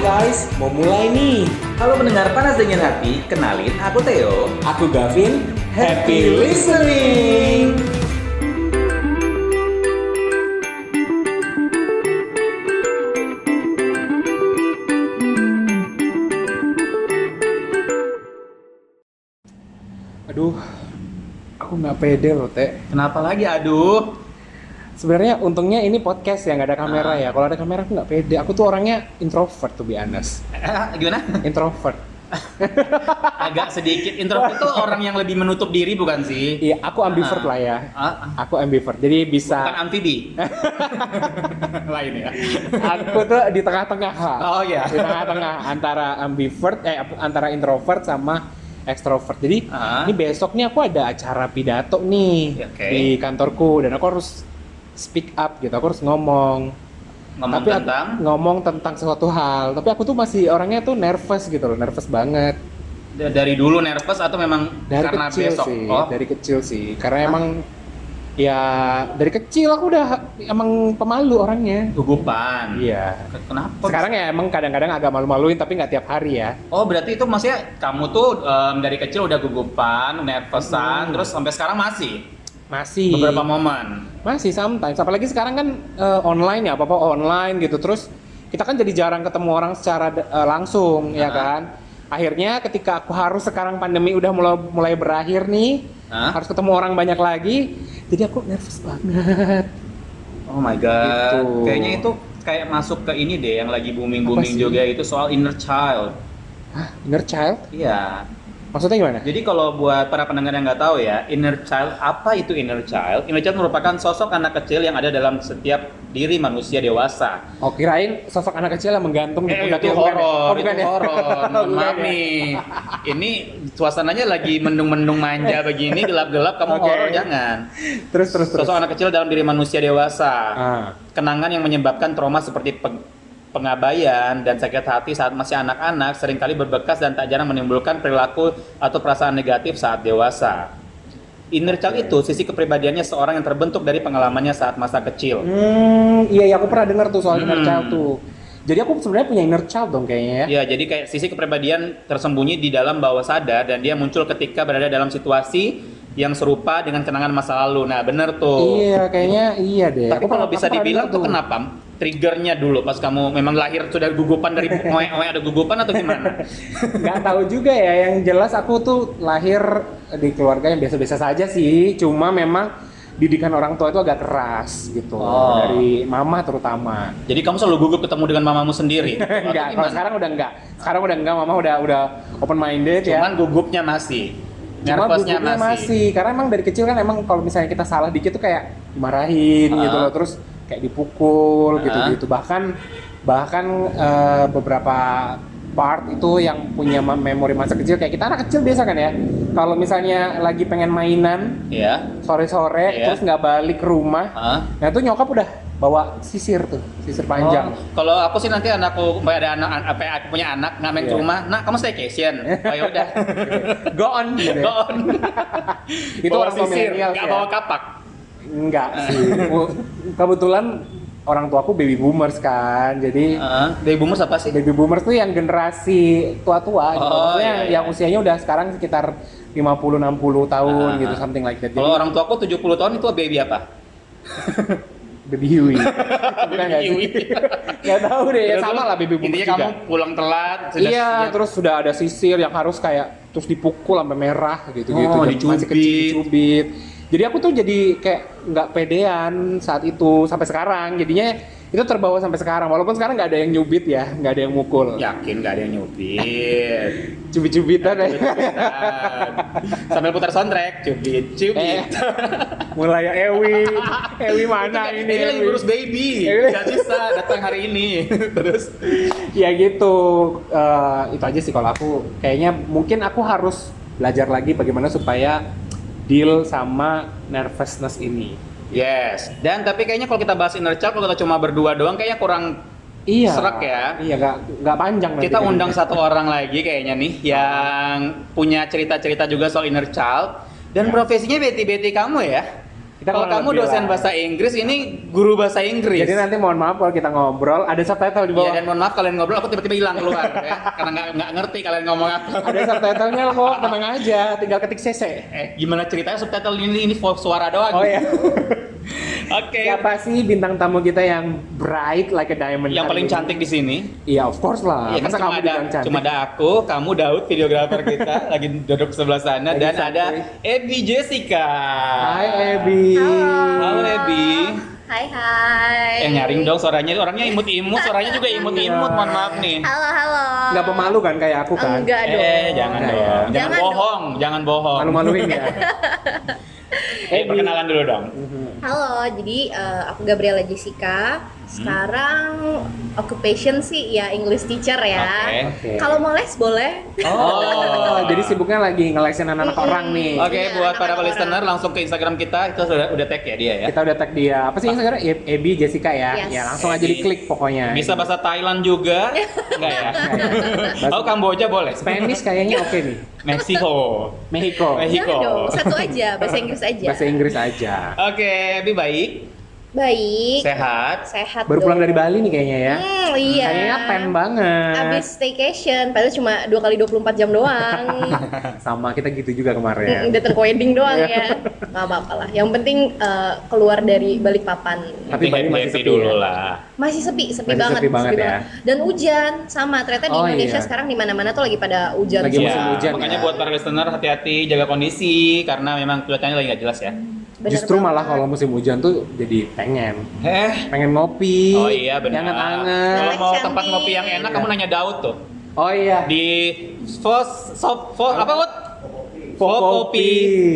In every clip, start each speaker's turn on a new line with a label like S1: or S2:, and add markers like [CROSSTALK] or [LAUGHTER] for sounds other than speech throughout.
S1: guys, mau mulai nih.
S2: Halo pendengar panas dingin hati, kenalin aku Theo.
S1: Aku Gavin,
S2: Happy listening.
S3: Aduh, aku nggak pede loh, Teh.
S2: Kenapa lagi? Aduh,
S3: Sebenarnya untungnya ini podcast ya, nggak ada kamera ya. Kalau ada kamera aku nggak pede. Aku tuh orangnya introvert to be honest.
S2: Eh, gimana?
S3: [LAUGHS] Introvert.
S2: Agak sedikit introvert itu orang yang lebih menutup diri bukan sih?
S3: Iya, aku ambivert lah ya.
S2: Ah,
S3: Aku ambivert. Jadi
S2: bukan
S3: bisa [LAUGHS]
S2: amfibi. Lain ya.
S3: aku tuh di tengah-tengah.
S2: Oh iya.
S3: Di tengah-tengah antara ambivert eh apa, antara introvert sama ekstrovert. Jadi
S2: Ah.
S3: ini besok nih aku ada acara pidato nih
S2: Oke.
S3: di kantorku dan aku harus speak up gitu. Aku harus ngomong.
S2: Ngomong
S3: aku-
S2: tentang
S3: ngomong tentang sesuatu hal tapi aku tuh masih orangnya tuh nervous gitu loh nervous banget
S2: d- dari dulu nervous atau memang
S3: dari
S2: karena
S3: kecil
S2: besok?
S3: sih
S2: Oh,
S3: dari kecil sih karena emang ya dari kecil aku udah emang pemalu orangnya
S2: gugupan.
S3: iya
S2: Ke- Kenapa?
S3: sekarang ya emang kadang-kadang agak malu-maluin tapi nggak tiap hari ya
S2: Oh berarti itu maksudnya kamu tuh em, dari kecil udah gugupan,
S3: Hmm.
S2: nervousan,
S3: Iya.
S2: terus sampai sekarang masih
S3: masih
S2: beberapa momen.
S3: masih sometimes apalagi sekarang kan eh, online ya apa-apa online gitu terus kita kan jadi jarang ketemu orang secara eh, langsung ya
S2: Ah.
S3: kan akhirnya ketika aku harus sekarang pandemi udah mulai mulai berakhir nih
S2: Ah.
S3: harus ketemu orang banyak lagi jadi aku nervous banget
S2: Oh my god.
S3: Gitu.
S2: Kayaknya itu kayak masuk ke ini deh yang lagi booming booming
S3: sih?
S2: juga itu soal inner child.
S3: inner child
S2: Iya.
S3: maksudnya gimana
S2: Jadi kalau buat para pendengar yang nggak tahu ya, inner child apa itu inner child? Inner child merupakan sosok anak kecil yang ada dalam setiap diri manusia dewasa.
S3: oh kirain sosok anak kecil yang menggantung di
S2: Eh,
S3: pundak ya,
S2: itu
S3: bukan ya?
S2: horor,
S3: Oh, bukan
S2: itu
S3: ya? [LAUGHS]
S2: horor. Mohon
S3: Bukan
S2: Maaf
S3: ya?
S2: nih. Ini suasananya lagi mendung-mendung manja begini, gelap-gelap kamu
S3: Oke.
S2: horor jangan.
S3: terus terus terus
S2: Sosok anak kecil dalam diri manusia dewasa.
S3: Ah.
S2: Kenangan yang menyebabkan trauma seperti peng- pengabaian dan sakit hati saat masih anak-anak seringkali berbekas dan tak jarang menimbulkan perilaku atau perasaan negatif saat dewasa. Inner child itu sisi kepribadiannya seorang yang terbentuk dari pengalamannya saat masa kecil.
S3: Hmm, iya, iya aku pernah dengar tuh soal inner
S2: Hmm.
S3: child tuh. Jadi aku sebenarnya punya inner child dong kayaknya ya.
S2: Ya, jadi kayak sisi kepribadian tersembunyi di dalam bawah sadar dan dia muncul ketika berada dalam situasi yang serupa dengan kenangan masa lalu. Nah, bener tuh.
S3: Iya, kayaknya iya deh.
S2: Tapi
S3: pernah-
S2: kalau bisa
S3: pernah
S2: dibilang
S3: dengar
S2: tuh kenapa? Triggernya dulu pas kamu memang lahir sudah gugupan
S3: [LAUGHS]
S2: dari oe-oe ada gugupan atau gimana?
S3: Nggak tahu juga ya. Yang jelas aku tuh lahir di keluarga yang biasa-biasa saja sih. Cuma memang didikan orang tua itu agak keras gitu.
S2: Oh.
S3: Dari mama terutama.
S2: Jadi kamu selalu gugup ketemu dengan mamamu
S3: [LAUGHS]
S2: sendiri. Atau
S3: enggak, kalau
S2: gimana?
S3: sekarang udah enggak. Sekarang udah enggak, mama udah udah open minded ya.
S2: Cuman gugupnya masih.
S3: Cuma
S2: Nervousnya
S3: gugupnya masih. karena emang dari kecil kan emang kalau misalnya kita salah dikit tuh kayak dimarahin
S2: Ah.
S3: gitu loh, terus kayak dipukul
S2: Ah.
S3: gitu-gitu. Bahkan bahkan eh, beberapa part itu yang punya ma- memori masa kecil kayak kita anak kecil biasa kan ya. Kalau misalnya lagi pengen mainan
S2: Iya.
S3: sore-sore
S2: Iya.
S3: terus nggak balik ke rumah,
S2: Hah?
S3: nah itu nyokap udah bawa sisir tuh, sisir panjang.
S2: Oh, kalau aku sih nanti anakku sampai ada anak an- apa aku punya anak nggak main ke
S3: Iya.
S2: rumah, nak kamu staycation. Oh ya
S3: [LAUGHS]
S2: udah.
S3: Go on gitu ya.
S2: Go on.
S3: Itu
S2: Bawa
S3: orang tua
S2: sisir,
S3: milenial
S2: nggak
S3: ya.
S2: bawa kapak.
S3: Enggak
S2: [LAUGHS]
S3: sih. Kebetulan orang tuaku baby boomers kan. Jadi
S2: Heeh. dari bumur siapa sih?
S3: baby boomers tuh yang generasi tua-tua gitu.
S2: Oh,
S3: Maksudnya
S2: iya, iya.
S3: yang usianya udah sekarang sekitar 50 60 tahun
S2: Ah,
S3: gitu
S2: ah.
S3: something like that. Jadi
S2: Kalau orang tuaku 70 tahun itu baby apa?
S3: baby
S2: [LAUGHS]
S3: Huey. Bukan nggak sih?
S2: Kiwi.
S3: [LAUGHS] Nggak tahu deh, ya
S2: Terus
S3: sama
S2: lu-
S3: lah baby boomers
S2: Intinya
S3: juga.
S2: kamu pulang telat,
S3: iya,
S2: siap.
S3: terus sudah ada sisir yang harus kayak terus dipukul sampai merah gitu-gitu.
S2: Oh,
S3: Jadi masih
S2: dicubit.
S3: kecil dicubit. Jadi aku tuh jadi kayak nggak pedean saat itu sampai sekarang. Jadinya itu terbawa sampai sekarang. Walaupun sekarang nggak ada yang nyubit ya, nggak ada yang mukul.
S2: Yakin nggak ada yang
S3: [LAUGHS]
S2: nyubit.
S3: Cubit-cubitan
S2: Ya,
S3: ya. aja.
S2: Cubitan. Sambil putar soundtrack,
S3: Eh,
S2: cubit, cubit.
S3: [LAUGHS] mulai ya Ewi, Ewi mana ini?
S2: Ini kan lagi
S3: Ewi?
S2: ngurus baby.
S3: Ewi.
S2: Gak bisa datang hari ini. [LAUGHS] Terus
S3: Ya gitu, Eh, itu aja sih kalau aku. Kayaknya mungkin aku harus belajar lagi bagaimana supaya deal sama nervousness ini.
S2: Yes. Dan tapi kayaknya kalau kita bahas inner child kalau kita cuma berdua doang kayaknya kurang
S3: Iya.
S2: Serak ya?
S3: Iya, nggak nggak panjang. nanti
S2: kita
S3: kan.
S2: undang satu orang lagi kayaknya nih yang punya cerita-cerita juga soal inner child
S3: Ya.
S2: dan profesinya beti-beti kamu ya.
S3: Kita
S2: kalau
S3: kurang
S2: kamu
S3: lebih
S2: dosen
S3: lah.
S2: bahasa Inggris, ini guru bahasa Inggris.
S3: Jadi nanti mohon maaf kalau kita ngobrol ada subtitle di bawah.
S2: Iya dan mohon maaf kalian ngobrol, aku tiba-tiba hilang keluar
S3: [LAUGHS]
S2: ya. karena nggak nggak ngerti kalian ngomong apa.
S3: Ada subtitlenya kok, tenang aja, tinggal ketik CC.
S2: Eh, gimana ceritanya subtitle ini ini vo- suara doang.
S3: Oh ya.
S2: [LAUGHS] Oke.
S3: Siapa sih bintang tamu kita yang bright like a diamond? hari
S2: Yang paling
S3: ini?
S2: cantik di sini.
S3: Iya, of course lah.
S2: Iya, kan
S3: Masa
S2: cuma
S3: kamu
S2: ada
S3: dibilang cantik?
S2: cuma ada aku, kamu Daud videografer
S3: [LAUGHS]
S2: kita lagi duduk sebelah sana
S3: Lagi
S2: dan
S3: santai.
S2: ada Ebi Jessica.
S3: Hai Abby.
S2: Halo Ebi.
S4: Hai
S2: Eh
S4: hai.
S2: nyaring dong suaranya orangnya imut-imut, suaranya juga imut-imut. Mohon maaf nih.
S4: Halo halo.
S3: Nggak pemalu kan kayak aku kan?
S4: Enggak dong.
S2: Eh, jangan
S3: Enggak
S2: dong.
S3: ya.
S2: Jangan,
S4: Jangan dong.
S2: bohong, jangan bohong.
S3: Malu-maluin
S4: [LAUGHS]
S3: ya.
S2: Eh, perkenalan dulu dong.
S4: Halo, jadi eh, aku Gabriela Jessica.
S3: Hmm.
S4: Sekarang occupation sih ya English teacher ya.
S2: Oke.
S3: Oke.
S4: Kalau mau les boleh. [LAUGHS]
S2: Oh.
S3: jadi sibuknya lagi ngelesin anak-anak
S4: Mm-mm.
S3: orang nih.
S2: Oke,
S4: Iya,
S2: buat para
S4: anak-anak
S2: listener langsung ke Instagram kita itu sudah udah tag ya dia ya.
S3: Kita udah tag dia. Apa sih Instagram? E- Abby Jessica ya.
S4: Yes.
S3: Ya langsung aja diklik pokoknya.
S2: Bisa bahasa Thailand
S4: [LAUGHS]
S2: juga, enggak ya?
S3: Bahasa-
S2: Oh, Kamboja boleh.
S3: Spanish kayaknya oke nih.
S2: Meksiko.
S3: Mexico.
S2: [LAUGHS] Mexico.
S4: Jangan
S2: Hiko.
S4: dong, satu aja bahasa Inggris aja.
S3: Bahasa Inggris aja.
S2: Oke, lebih baik,
S4: Baik.
S2: sehat.
S4: Sehat
S3: Baru
S4: dong.
S3: pulang dari Bali nih kayaknya ya.
S4: Hmm, iya.
S3: Kayaknya pen banget.
S4: Abis staycation, padahal cuma dua kali 24 jam
S3: [LAUGHS]
S4: doang.
S3: Sama kita gitu juga
S4: Mm,
S3: kemarin.
S4: Udah terkoding doang
S3: Iya.
S4: ya. Gak apa-apa lah. Yang penting eh, keluar dari balik papan.
S3: Tapi
S2: Nanti
S3: Bali masih
S2: happy
S3: sepi
S2: dulu
S3: ya?
S2: lah.
S4: Masih sepi, sepi
S3: Masih
S4: banget.
S3: sepi banget ya.
S4: Dan hujan sama. Ternyata di
S3: Oh,
S4: Indonesia
S3: iya.
S4: sekarang di mana-mana tuh lagi pada hujan.
S3: Lagi
S4: semua.
S3: musim hujan
S2: Iya. makanya
S3: ya.
S2: buat para listener hati-hati jaga kondisi karena memang cuacanya lagi nggak jelas ya.
S4: Bener
S3: Justru
S4: banget.
S3: malah kalau musim hujan tuh jadi pengen
S2: Eh.
S3: pengen ngopi.
S2: Oh iya benar.
S3: Yang anget
S2: Kalau mau
S4: Cantik.
S2: tempat ngopi yang enak kamu nanya Daud tuh.
S3: Oh iya.
S2: Di Fos Sop Fo- apa Wot?
S3: Fokopi.
S2: Fokopi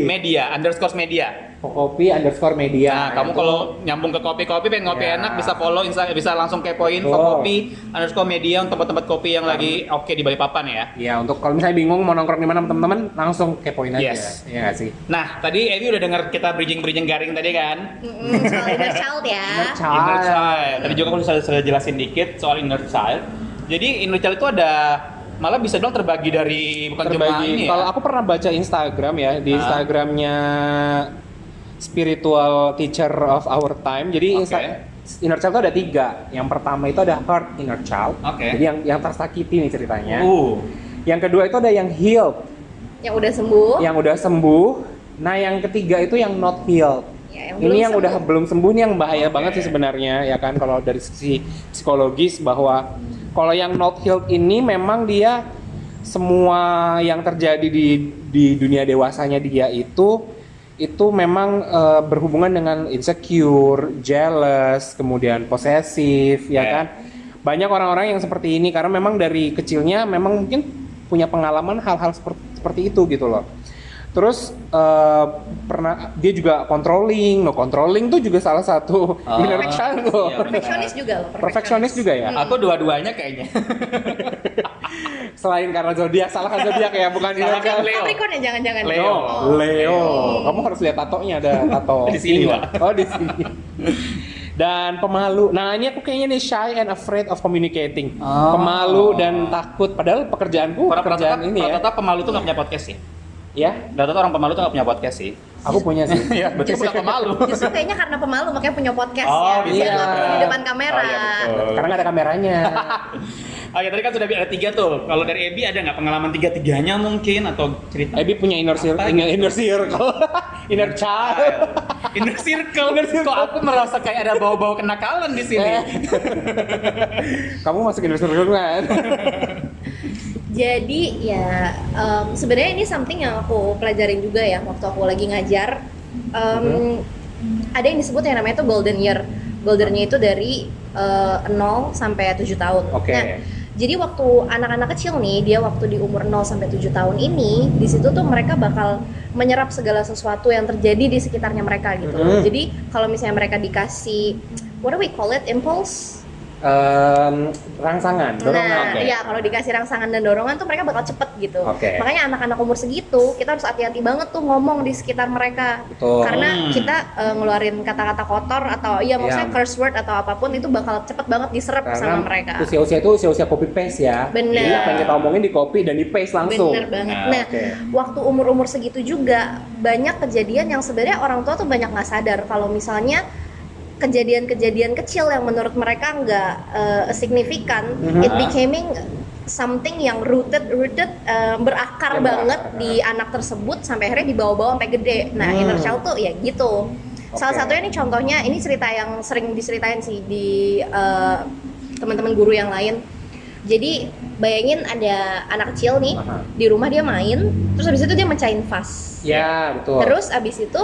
S2: Media underscore media.
S3: Kopi underscore media.
S2: nah, kamu
S3: Itu
S2: kalau nyambung ke kopi-kopi pengen ngopi
S3: Ya.
S2: enak bisa follow insta bisa langsung kepoin
S3: Betul.
S2: Fokopi underscore media untuk tempat-tempat kopi yang lagi oke di Balikpapan ya.
S3: Ya untuk kalau misalnya bingung mau nongkrong di mana sama teman-teman langsung kepoin aja.
S2: Yes.
S3: Iya nggak sih?
S2: Nah, tadi Evi udah dengar kita bridging-bridging garing tadi kan?
S4: Mm-mm, soal inner child ya.
S3: Child.
S2: Inner child. Tadi juga aku sudah, sudah jelasin dikit soal inner child. Jadi inner child itu ada malah bisa dong terbagi dari bukan cuma
S3: Terbagi.
S2: ini ya.
S3: Kalau aku pernah baca Instagram ya di
S2: Ah.
S3: Instagramnya spiritual teacher of our time. Jadi
S2: Oke.
S3: Insta- inner child itu ada tiga. Yang pertama itu ada hurt inner child.
S2: Oke.
S3: Jadi yang yang tersakiti nih ceritanya.
S2: Uh,
S3: Yang kedua itu ada yang healed,
S4: Yang udah sembuh.
S3: yang udah sembuh. Nah yang ketiga itu yang not healed.
S4: Ya, belum
S3: ini yang udah
S4: sembuh.
S3: belum sembuh nih yang bahaya
S2: Oke.
S3: banget sih sebenarnya ya kan kalau dari sisi psikologis bahwa kalau yang not healed ini memang dia semua yang terjadi di di dunia dewasanya dia itu itu memang eh, berhubungan dengan insecure, jealous, kemudian posesif ya
S2: Oke.
S3: kan. Banyak orang-orang yang seperti ini karena memang dari kecilnya memang mungkin punya pengalaman hal-hal seperti seperti itu gitu loh. Terus eh, pernah dia juga controlling, no controlling tuh juga salah satu
S2: Ah,
S3: inner child loh.
S2: iya, benar.
S4: Perfeksionis juga loh.
S3: Perfeksionis juga ya.
S2: Nah, aku dua-duanya kayaknya.
S3: Selain karena zodiak, salah kan zodiak ya, bukan inner
S2: Salah kan
S3: child.
S2: Leo.
S4: Capricorn ya jangan-jangan.
S2: Leo.
S4: Oh.
S3: Leo.
S4: Oh.
S3: Kamu harus lihat tatonya ada tato.
S2: Di sini,
S3: singa.
S2: Pak.
S3: Oh, di sini. Dan pemalu. Nah, ini aku kayaknya nih shy and afraid of communicating.
S2: Oh.
S3: Pemalu dan takut padahal pekerjaanku
S2: Orang
S3: pekerjaan ini ya.
S2: Rata-rata pemalu tuh nggak punya podcast sih.
S3: Ya,
S2: Rata-rata orang pemalu tuh nggak punya podcast sih.
S3: aku punya sih.
S2: [LAUGHS] Iya, betul bukan pemalu.
S4: Justru kayaknya karena pemalu makanya punya podcast
S2: Oh,
S4: ya.
S2: bisa
S4: Bisa
S3: juga.
S4: ngomong di depan kamera.
S2: Oh, iya, betul.
S3: Karena nggak ada
S2: [LAUGHS]
S3: kameranya.
S2: Oke, tadi kan sudah ada tiga tuh. Kalau dari Ebi ada nggak pengalaman tiga-tiganya mungkin atau cerita?
S3: Ebi punya inner circle,
S2: Apa?
S3: inner, inner
S2: [LAUGHS]
S3: circle, inner child.
S2: Inner circle.
S3: Inner circle.
S2: Kok aku merasa kayak ada bau-bau kenakalan di sini.
S4: Eh.
S3: Eh. [LAUGHS] Kamu masuk inner circle
S2: [LAUGHS]
S3: kan?
S4: Jadi ya em, sebenarnya ini something yang aku pelajarin juga ya waktu aku lagi ngajar. Em,
S3: Mhm.
S4: Ada yang disebut yang namanya itu golden year. Goldennya itu dari eh, 0 sampai 7 tahun.
S3: Oke.
S4: Nah, jadi waktu anak-anak kecil nih, dia waktu di umur 0 sampai 7 tahun ini, di situ tuh mereka bakal menyerap segala sesuatu yang terjadi di sekitarnya mereka gitu.
S3: Mhm.
S4: Jadi kalau misalnya mereka dikasih what do we call it impulse?
S3: em, rangsangan, dorongan.
S4: Nah,
S2: Oke.
S4: iya kalau dikasih rangsangan dan dorongan tuh mereka bakal cepet gitu.
S3: Oke.
S4: Makanya anak-anak umur segitu kita harus hati-hati banget tuh ngomong di sekitar mereka.
S3: Betul.
S4: Karena
S2: Hmm.
S4: kita eh, ngeluarin kata-kata kotor atau iya maksudnya
S3: Iya.
S4: curse word atau apapun itu bakal cepet banget diserap
S3: Karena
S4: sama mereka.
S3: usia-usia itu usia-usia copy paste ya.
S4: Bener.
S3: Jadi apa yang kita omongin di copy dan di paste langsung. Ah,
S4: Bener banget.
S2: Nah,
S4: Nah,
S3: oke.
S4: waktu umur-umur segitu juga banyak kejadian yang sebenarnya orang tua tuh banyak nggak sadar kalau misalnya kejadian-kejadian kecil yang menurut mereka nggak eh, signifikan,
S3: Mhm.
S4: it becoming something yang rooted rooted eh, berakar
S3: Yang
S4: banget
S3: berakar.
S4: di anak tersebut sampai akhirnya dibawa-bawa sampai gede. Nah,
S3: Hmm.
S4: inner child tuh ya gitu. Salah
S3: Oke.
S4: satunya nih contohnya ini cerita yang sering diceritain sih di eh, teman-teman guru yang lain. Jadi bayangin ada anak kecil nih
S3: Aha.
S4: di rumah dia main, terus habis itu dia mecahin vas.
S3: Ya, betul.
S4: Terus abis itu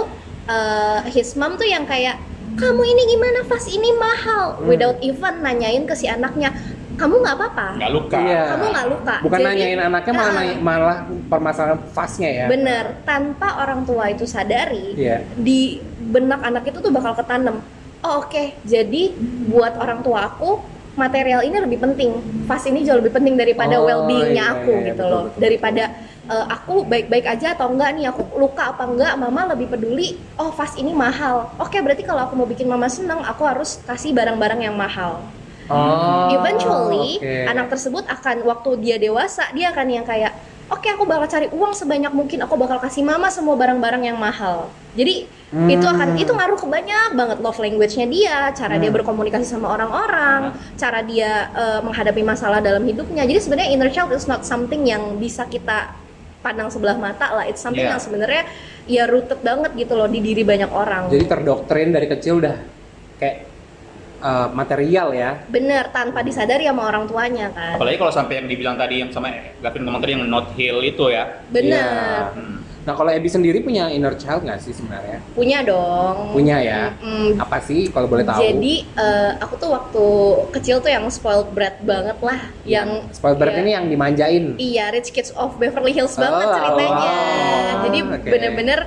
S4: eh, his mom tuh yang kayak kamu ini gimana vas ini mahal
S3: Hmm.
S4: without even nanyain ke si anaknya kamu nggak apa-apa
S2: nggak luka.
S3: Iya.
S4: kamu nggak luka
S3: Bukan
S4: Jadi-
S3: nanyain anaknya malah
S4: Ah,
S3: nanya- malah permasalahan fasnya ya.
S4: bener tanpa orang tua itu sadari
S3: Iya.
S4: di benak anak itu tuh bakal ketanem oh, oke jadi buat orang tua aku material ini lebih penting vas ini jauh lebih penting daripada
S3: Oh,
S4: well-beingnya
S3: iya,
S4: aku
S3: iya,
S4: gitu
S3: betul,
S4: loh
S3: betul.
S4: daripada eh, aku baik-baik aja atau enggak nih aku luka apa enggak mama lebih peduli oh vas ini mahal oke berarti kalau aku mau bikin mama seneng aku harus kasih barang-barang yang mahal
S3: Oh.
S4: eventually
S3: oke.
S4: anak tersebut akan waktu dia dewasa dia akan yang kayak oke aku bakal cari uang sebanyak mungkin aku bakal kasih mama semua barang-barang yang mahal jadi
S3: Hmm.
S4: itu akan itu ngaruh ke banyak banget love language-nya dia cara dia
S3: Hmm.
S4: berkomunikasi sama orang-orang cara dia eh, menghadapi masalah dalam hidupnya jadi sebenarnya inner child is not something yang bisa kita pandang sebelah mata lah it's something
S2: Yeah.
S4: yang sebenarnya ya rooted banget gitu loh di diri banyak orang
S3: Jadi terdoktrin dari kecil udah kayak eh, material ya.
S4: bener tanpa disadari sama orang tuanya kan
S2: Apalagi kalau sampai yang dibilang tadi yang sama Gavin ngomong tadi yang not heal itu ya.
S4: bener
S3: Iya.
S2: Hmm.
S3: Nah, kalau Ebi sendiri punya inner child nggak sih sebenarnya?
S4: punya dong
S3: Punya ya.
S4: Mm,
S3: Apa sih kalau boleh tahu?
S4: Jadi eh, aku tuh waktu kecil tuh yang spoiled brat banget lah, yang
S3: spoiler
S4: ya,
S3: Iya. ini yang dimanjain.
S4: Iya, Rich Kids of Beverly Hills
S3: Oh,
S4: banget ceritanya.
S3: wow.
S4: Jadi
S3: Oke.
S4: bener-bener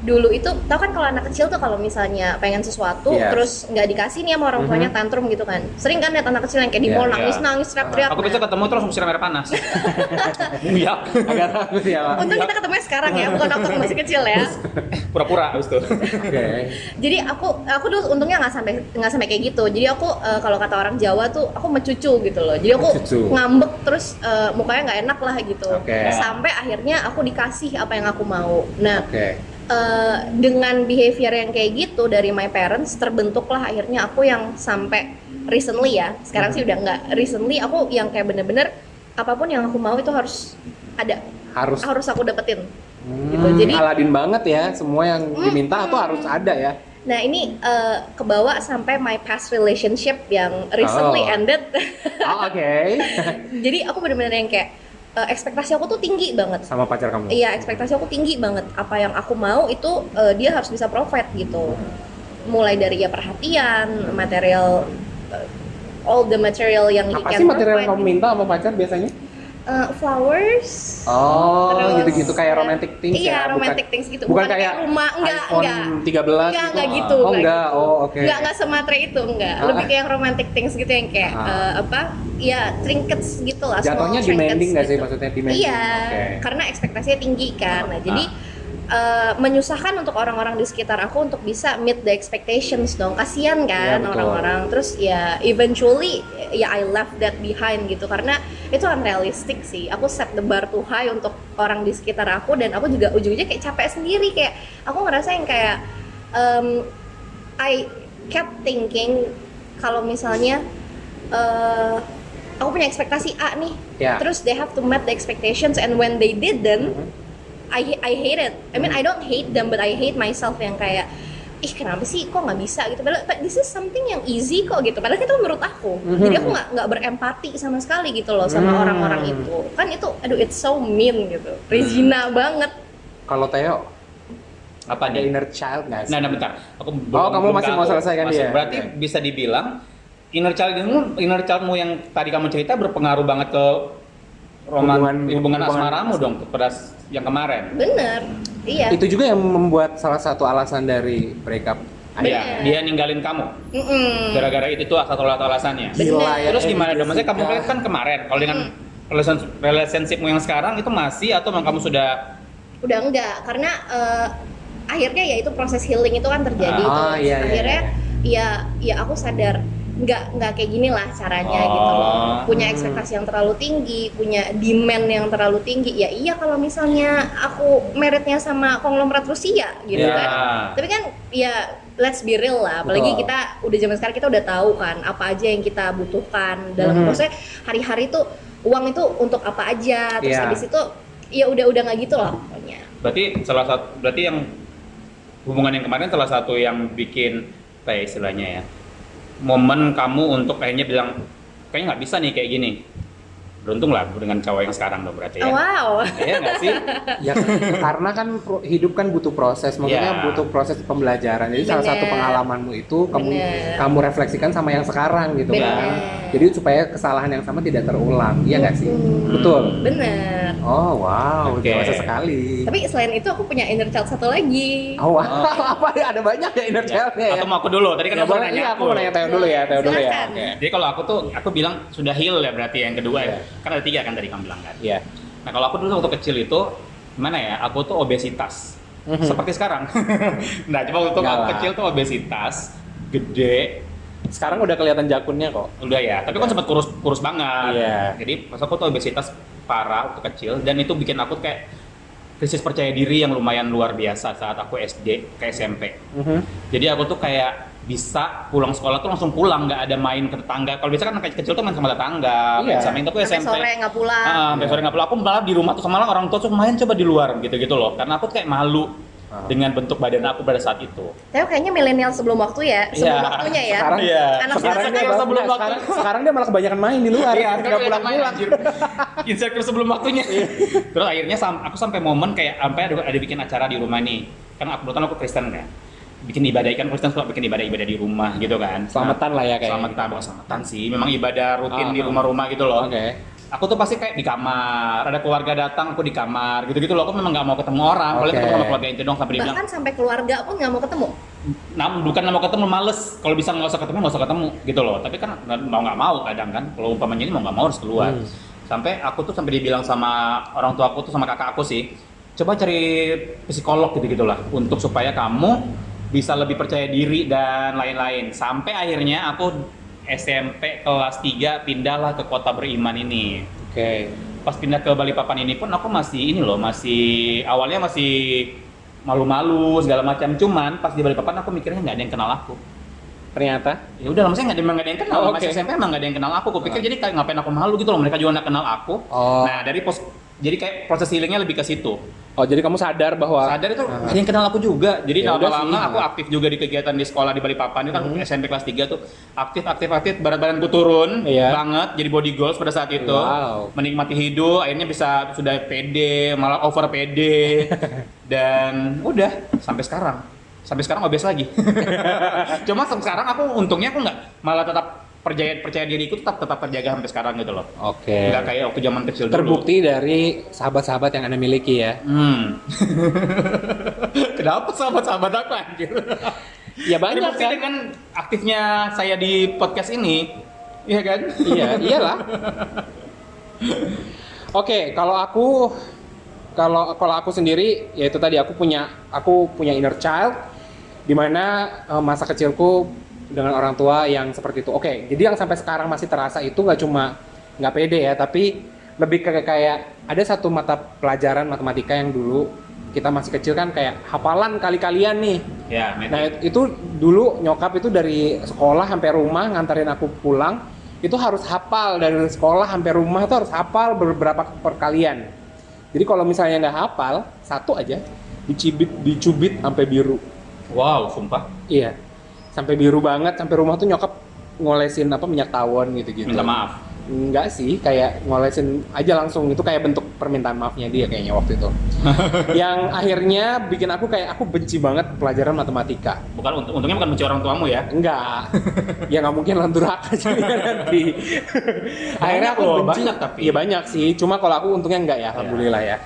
S4: dulu itu tau kan kalau anak kecil tuh kalau misalnya pengen sesuatu
S3: Yes. Mm-hmm.
S4: terus nggak dikasih nih sama orang tuanya tantrum gitu kan. Sering kan lihat anak kecil yang kayak di
S3: Iya,
S4: mall
S2: iya.
S4: nangis-nangis teriak-teriak.
S2: Aku
S4: Nah,
S2: bisa ketemu terus langsung siram air
S4: [LAUGHS]
S2: panas. Iya,
S3: Agak takut ya. Pak.
S4: Untung kita ketemunya sekarang ya, bukan waktu aku masih kecil ya.
S3: [LAUGHS]
S2: pura-pura abis itu.
S4: [LAUGHS]
S3: Oke.
S4: Jadi aku aku dulu untungnya nggak sampai nggak sampai kayak gitu. Jadi aku eh, kalau kata orang Jawa tuh aku mencucu gitu loh. Jadi aku
S3: Mencucu.
S4: ngambek terus eh, mukanya nggak enak lah gitu.
S3: Oke.
S4: Sampai akhirnya aku dikasih apa yang aku mau. Nah
S3: Oke.
S4: eh, dengan behavior yang kayak gitu dari my parents terbentuklah akhirnya aku yang sampai recently ya. Sekarang
S3: Hmm.
S4: sih udah nggak recently aku yang kayak bener-bener apapun yang aku mau itu harus ada
S3: Harus
S4: harus aku dapetin.
S3: Hmm,
S4: gitu. Jadi- Hmm.
S3: Aladin banget ya, semua yang diminta tuh harus ada
S4: [LAUGHS]
S3: ya.
S4: Nah ini eh, kebawa sampai my past relationship yang recently
S3: Oh.
S4: ended. [LAUGHS]
S3: Oh, Oke. [LAUGHS]
S4: Jadi aku bener-bener yang kayak eh, ekspektasi aku tuh tinggi banget.
S3: Sama pacar kamu.
S4: Iya ekspektasi aku tinggi banget. Apa yang aku mau itu eh, dia harus bisa provide gitu. Mulai dari ya perhatian, material, eh, all the material yang
S3: Apa
S4: he can
S3: sih material yang
S4: provide. gitu.
S3: kamu minta sama pacar biasanya?
S4: Eh, flowers.
S3: Oh,
S4: Terus,
S3: gitu-gitu kayak
S4: eh,
S3: romantic things
S4: iya,
S3: ya.
S4: romantic things gitu.
S3: Bukan,
S4: Bukan kayak rumah, enggak,
S3: iPhone
S4: enggak.
S3: 13
S4: Enggak,
S3: gitu.
S4: enggak gitu.
S3: Oh, enggak.
S4: gitu.
S3: Oh, oke.
S4: Enggak, enggak sematre itu, enggak.
S3: Ah.
S4: Lebih kayak yang romantic things gitu yang kayak
S3: Ah.
S4: eh, apa? Ya, trinkets gitu lah. small
S3: Jatuhnya
S4: trinkets
S3: demanding nggak sih
S4: gitu.
S3: maksudnya demanding?
S4: Iya,
S3: Oke. Ah.
S4: karena ekspektasinya tinggi kan. Nah, jadi eh, menyusahkan untuk orang-orang di sekitar aku untuk bisa meet the expectations dong. Kasian
S3: Iya,
S4: kan
S3: betul.
S4: orang-orang. Terus ya eventually ya I left that behind gitu karena itu unrealistic sih. Aku set the bar too high untuk orang di sekitar aku dan aku juga ujung-ujungnya kayak capek sendiri kayak aku ngerasa yang kayak em, I kept thinking kalau misalnya eh, aku punya ekspektasi A nih,
S3: Ya.
S4: terus they have to meet the expectations and when they didn't,
S3: Mm-hmm.
S4: I I hate it. I mean I don't hate them but I hate myself yang kayak ih kenapa sih kok nggak bisa gitu padahal but this is something yang easy kok gitu padahal itu menurut aku
S3: Mhm.
S4: jadi aku nggak nggak berempati sama sekali gitu loh sama
S3: Hmm.
S4: orang-orang itu kan itu aduh it's so mean gitu Regina banget
S3: Kalau Theo
S2: Apa
S3: ada
S2: nih?
S3: inner child nggak sih?
S2: Nah, nah bentar. Aku
S3: Oh, kamu masih mau
S2: tahu.
S3: selesaikan dia?
S2: Masih- Berarti
S3: Oke.
S2: bisa dibilang inner childmu, inner childmu yang tadi kamu cerita berpengaruh banget ke roman, hubungan,
S3: Hubungan- hubungan
S2: asmaramu dong pada s- yang kemarin.
S4: bener iya
S3: Itu juga yang membuat salah satu alasan dari breakup
S2: Iya,
S4: Bener.
S2: dia ninggalin kamu.
S4: Mm-mm.
S2: Gara-gara itu tuh salah satu alasannya.
S3: Iya,
S4: Gila ya,
S2: Terus gimana dong? Maksudnya kamu
S3: Jessica.
S2: kan kemarin, kalau dengan relationship relationshipmu yang sekarang itu masih atau memang kamu sudah
S4: udah enggak karena eh, akhirnya ya itu proses healing itu kan terjadi
S3: Ah, iya,
S4: tuh.
S3: iya,
S4: akhirnya ya ya aku sadar nggak nggak kayak gini lah caranya
S3: Ah.
S2: Oh.
S4: gitu loh punya ekspektasi yang terlalu tinggi punya demand yang terlalu tinggi ya iya kalau misalnya aku meritnya sama konglomerat Rusia gitu
S2: Ya.
S4: kan tapi kan ya let's be real lah apalagi
S3: Betul.
S4: kita udah zaman sekarang kita udah tahu kan apa aja yang kita butuhkan dalam
S3: Mhm.
S4: maksudnya hari-hari tuh uang itu untuk apa aja terus
S3: Iya.
S4: habis itu ya udah udah nggak gitu lah pokoknya
S2: berarti salah satu berarti yang hubungan yang kemarin salah satu yang bikin kayak istilahnya ya momen kamu untuk kayaknya bilang kayaknya nggak bisa nih kayak gini beruntung lah dengan cowok yang sekarang dong berarti ya
S4: Oh, wow [LAUGHS]
S2: Iya nggak sih
S3: ya karena kan pro- hidup kan butuh proses maksudnya
S2: Ya.
S3: butuh proses pembelajaran jadi salah satu
S4: Bener.
S3: pengalamanmu itu kamu
S4: Bener.
S3: kamu refleksikan sama yang sekarang gitu kan
S4: Bener.
S3: jadi supaya kesalahan yang sama tidak terulang iya nggak sih
S4: Mm-mm.
S3: betul
S4: bener
S3: oh wow
S2: Oke.
S3: dewasa sekali
S4: tapi selain itu aku punya inner child satu lagi
S3: oh wow [LAUGHS] apa ada banyak ya inner
S2: Ya,
S3: child-nya ya
S2: atau mau aku dulu tadi
S3: Ya,
S2: kan aku
S3: boleh,
S2: nanya
S3: iya, aku mau nanya Teo dulu ya Teo dulu ya
S4: Silakan.
S3: Oke.
S2: jadi kalau aku tuh aku bilang sudah heal ya berarti yang kedua ya
S3: Iya.
S2: kan ada tiga kan tadi kamu bilang kan
S3: Iya.
S2: Nah kalau aku dulu waktu kecil itu gimana ya? Aku tuh obesitas.
S3: Mhm.
S2: Seperti sekarang. [LAUGHS] nah cuma waktu
S3: Nggak
S2: aku
S3: lah.
S2: kecil tuh obesitas, gede,
S3: sekarang udah kelihatan jakunnya kok
S2: udah ya. Tapi kan sempat kurus kurus banget.
S3: Iya.
S2: Jadi pas aku tuh obesitas parah waktu kecil dan itu bikin aku kayak krisis percaya diri yang lumayan luar biasa saat aku SD ke SMP.
S3: Mhm.
S2: Jadi aku tuh kayak bisa pulang sekolah tuh langsung pulang nggak ada main ke tetangga. Kalau biasa kan anak kecil tuh main sama tetangga, main
S3: Iya.
S2: sama itu aku
S4: sampai
S2: SMP.
S4: sore nggak pulang
S2: Ah, sampai sore nggak pulang. Aku malah di rumah tuh malah orang tua tuh main coba di luar gitu-gitu loh. Karena aku kayak malu
S3: Ah.
S2: dengan bentuk badan aku pada saat itu.
S4: tapi kayaknya milenial sebelum waktu ya sebelum
S2: Iya.
S4: waktunya ya
S3: Sekarang-
S2: Iya.
S4: anak
S3: sekarang
S4: sekarang
S3: dia,
S2: Sekarang sebelum
S3: nggak,
S2: waktu.
S3: sekarang, sekarang dia malah kebanyakan main di luar ya.
S2: Iya,
S3: nggak
S2: pulang
S3: pulang-pulang
S2: [LAUGHS]
S3: Iya.
S2: Insecure sebelum waktunya. Terus akhirnya sam- aku sampai momen kayak sampai ada, ada bikin acara di rumah nih. Karena aku kebetulan aku Kristen kan. Bikin ibadah kan Kristen suka bikin ibadah-ibadah di rumah gitu kan.
S3: selamatan lah ya
S2: Nah,
S3: kayak
S2: Selamatan, bukan selamatan sih. Memang ibadah rutin
S3: Ah,
S2: di
S3: ah.
S2: rumah-rumah gitu loh.
S3: oke
S2: aku tuh pasti kayak di kamar ada keluarga datang aku di kamar gitu-gitu loh aku memang nggak mau ketemu orang kalau
S3: Oke.
S2: ketemu sama keluarga itu dong sampai dibilang
S4: bahkan sampai keluarga pun nggak mau ketemu
S2: nah, bukan nggak mau ketemu males kalau bisa nggak usah ketemu nggak usah ketemu gitu loh tapi kan nggak- mau nggak mau kadang kan kalau umpamanya ini mau nggak mau harus keluar
S3: Hmm.
S2: sampai aku tuh sampai dibilang sama orang tua aku tuh sama kakak aku sih coba cari psikolog gitu gitulah untuk supaya kamu bisa lebih percaya diri dan lain-lain sampai akhirnya aku SMP kelas 3 pindahlah ke kota beriman ini
S3: oke
S2: pas pindah ke Balikpapan ini pun aku masih ini loh masih awalnya masih malu-malu segala macam cuman pas di Balikpapan aku mikirnya nggak ada yang kenal aku
S3: ternyata
S2: ya udah maksudnya nggak ada, emang nggak ada yang kenal
S3: Oh,
S2: masih
S3: oke. Nah.
S2: SMP emang nggak ada yang kenal aku aku pikir jadi kayak ngapain aku malu gitu loh mereka juga nggak kenal aku
S3: Oh.
S2: nah dari pos jadi kayak proses healingnya lebih ke situ
S3: oh jadi kamu sadar bahwa
S2: sadar itu
S3: Ah.
S2: ada yang kenal aku juga jadi
S3: Ya udah
S2: lama-lama
S3: sih. Hmm.
S2: aku aktif juga di kegiatan di sekolah di Balikpapan itu kan SMP kelas 3 tuh aktif aktif aktif berat badanku turun
S3: Iya.
S2: banget jadi body goals pada saat itu
S3: Wow.
S2: menikmati hidup akhirnya bisa sudah pede malah over
S3: [LAUGHS]
S2: pede dan udah sampai sekarang sampai sekarang obes lagi
S3: [LAUGHS]
S2: cuma se- sekarang aku untungnya aku nggak malah tetap percaya percaya diriku tetap tetap terjaga sampai sekarang gitu loh
S3: Oke.
S2: nggak kayak waktu zaman kecil dulu
S3: Iya. Terbukti dari sahabat-sahabat yang Anda miliki ya.
S2: Hmm. Kenapa sahabat-sahabat aku anjir?
S3: Ya banyak
S2: Terbukti
S3: kan.
S2: dengan aktifnya saya di podcast ini, iya kan?
S3: [LAUGHS] Iya,
S2: [LAUGHS]
S3: iyalah. Oke, kalau aku kalau kalau aku sendiri yaitu tadi aku punya aku punya inner child di mana eh, masa kecilku dengan orang tua yang seperti itu. Oke, jadi yang sampai sekarang masih terasa itu nggak cuma nggak pede ya, tapi lebih ke kayak ada satu mata pelajaran matematika yang dulu kita masih kecil kan kayak hafalan kali-kalian nih.
S2: Ya,
S3: Nah it- itu dulu nyokap itu dari sekolah sampai rumah nganterin aku pulang itu harus hafal dari sekolah sampai rumah itu harus hafal beberapa perkalian. Jadi kalau misalnya nggak hafal satu aja dicubit dicubit sampai biru.
S2: wow, sumpah.
S3: Iya sampai biru banget sampai rumah tuh nyokap ngolesin apa minyak tawon gitu-gitu.
S2: Minta maaf.
S3: Enggak sih, kayak ngolesin aja langsung itu kayak bentuk permintaan maafnya dia kayaknya waktu
S2: [LAUGHS]
S3: itu. Yang akhirnya bikin aku kayak aku benci banget pelajaran matematika.
S2: Bukan untung- untungnya bukan benci orang tuamu ya. [LAUGHS]
S3: Enggak. ya nggak mungkin lah durhaka jadi nanti. akhirnya aku
S2: loh,
S3: benci.
S2: banyak tapi.
S3: Iya banyak sih. Cuma kalau aku untungnya enggak ya, alhamdulillah ya.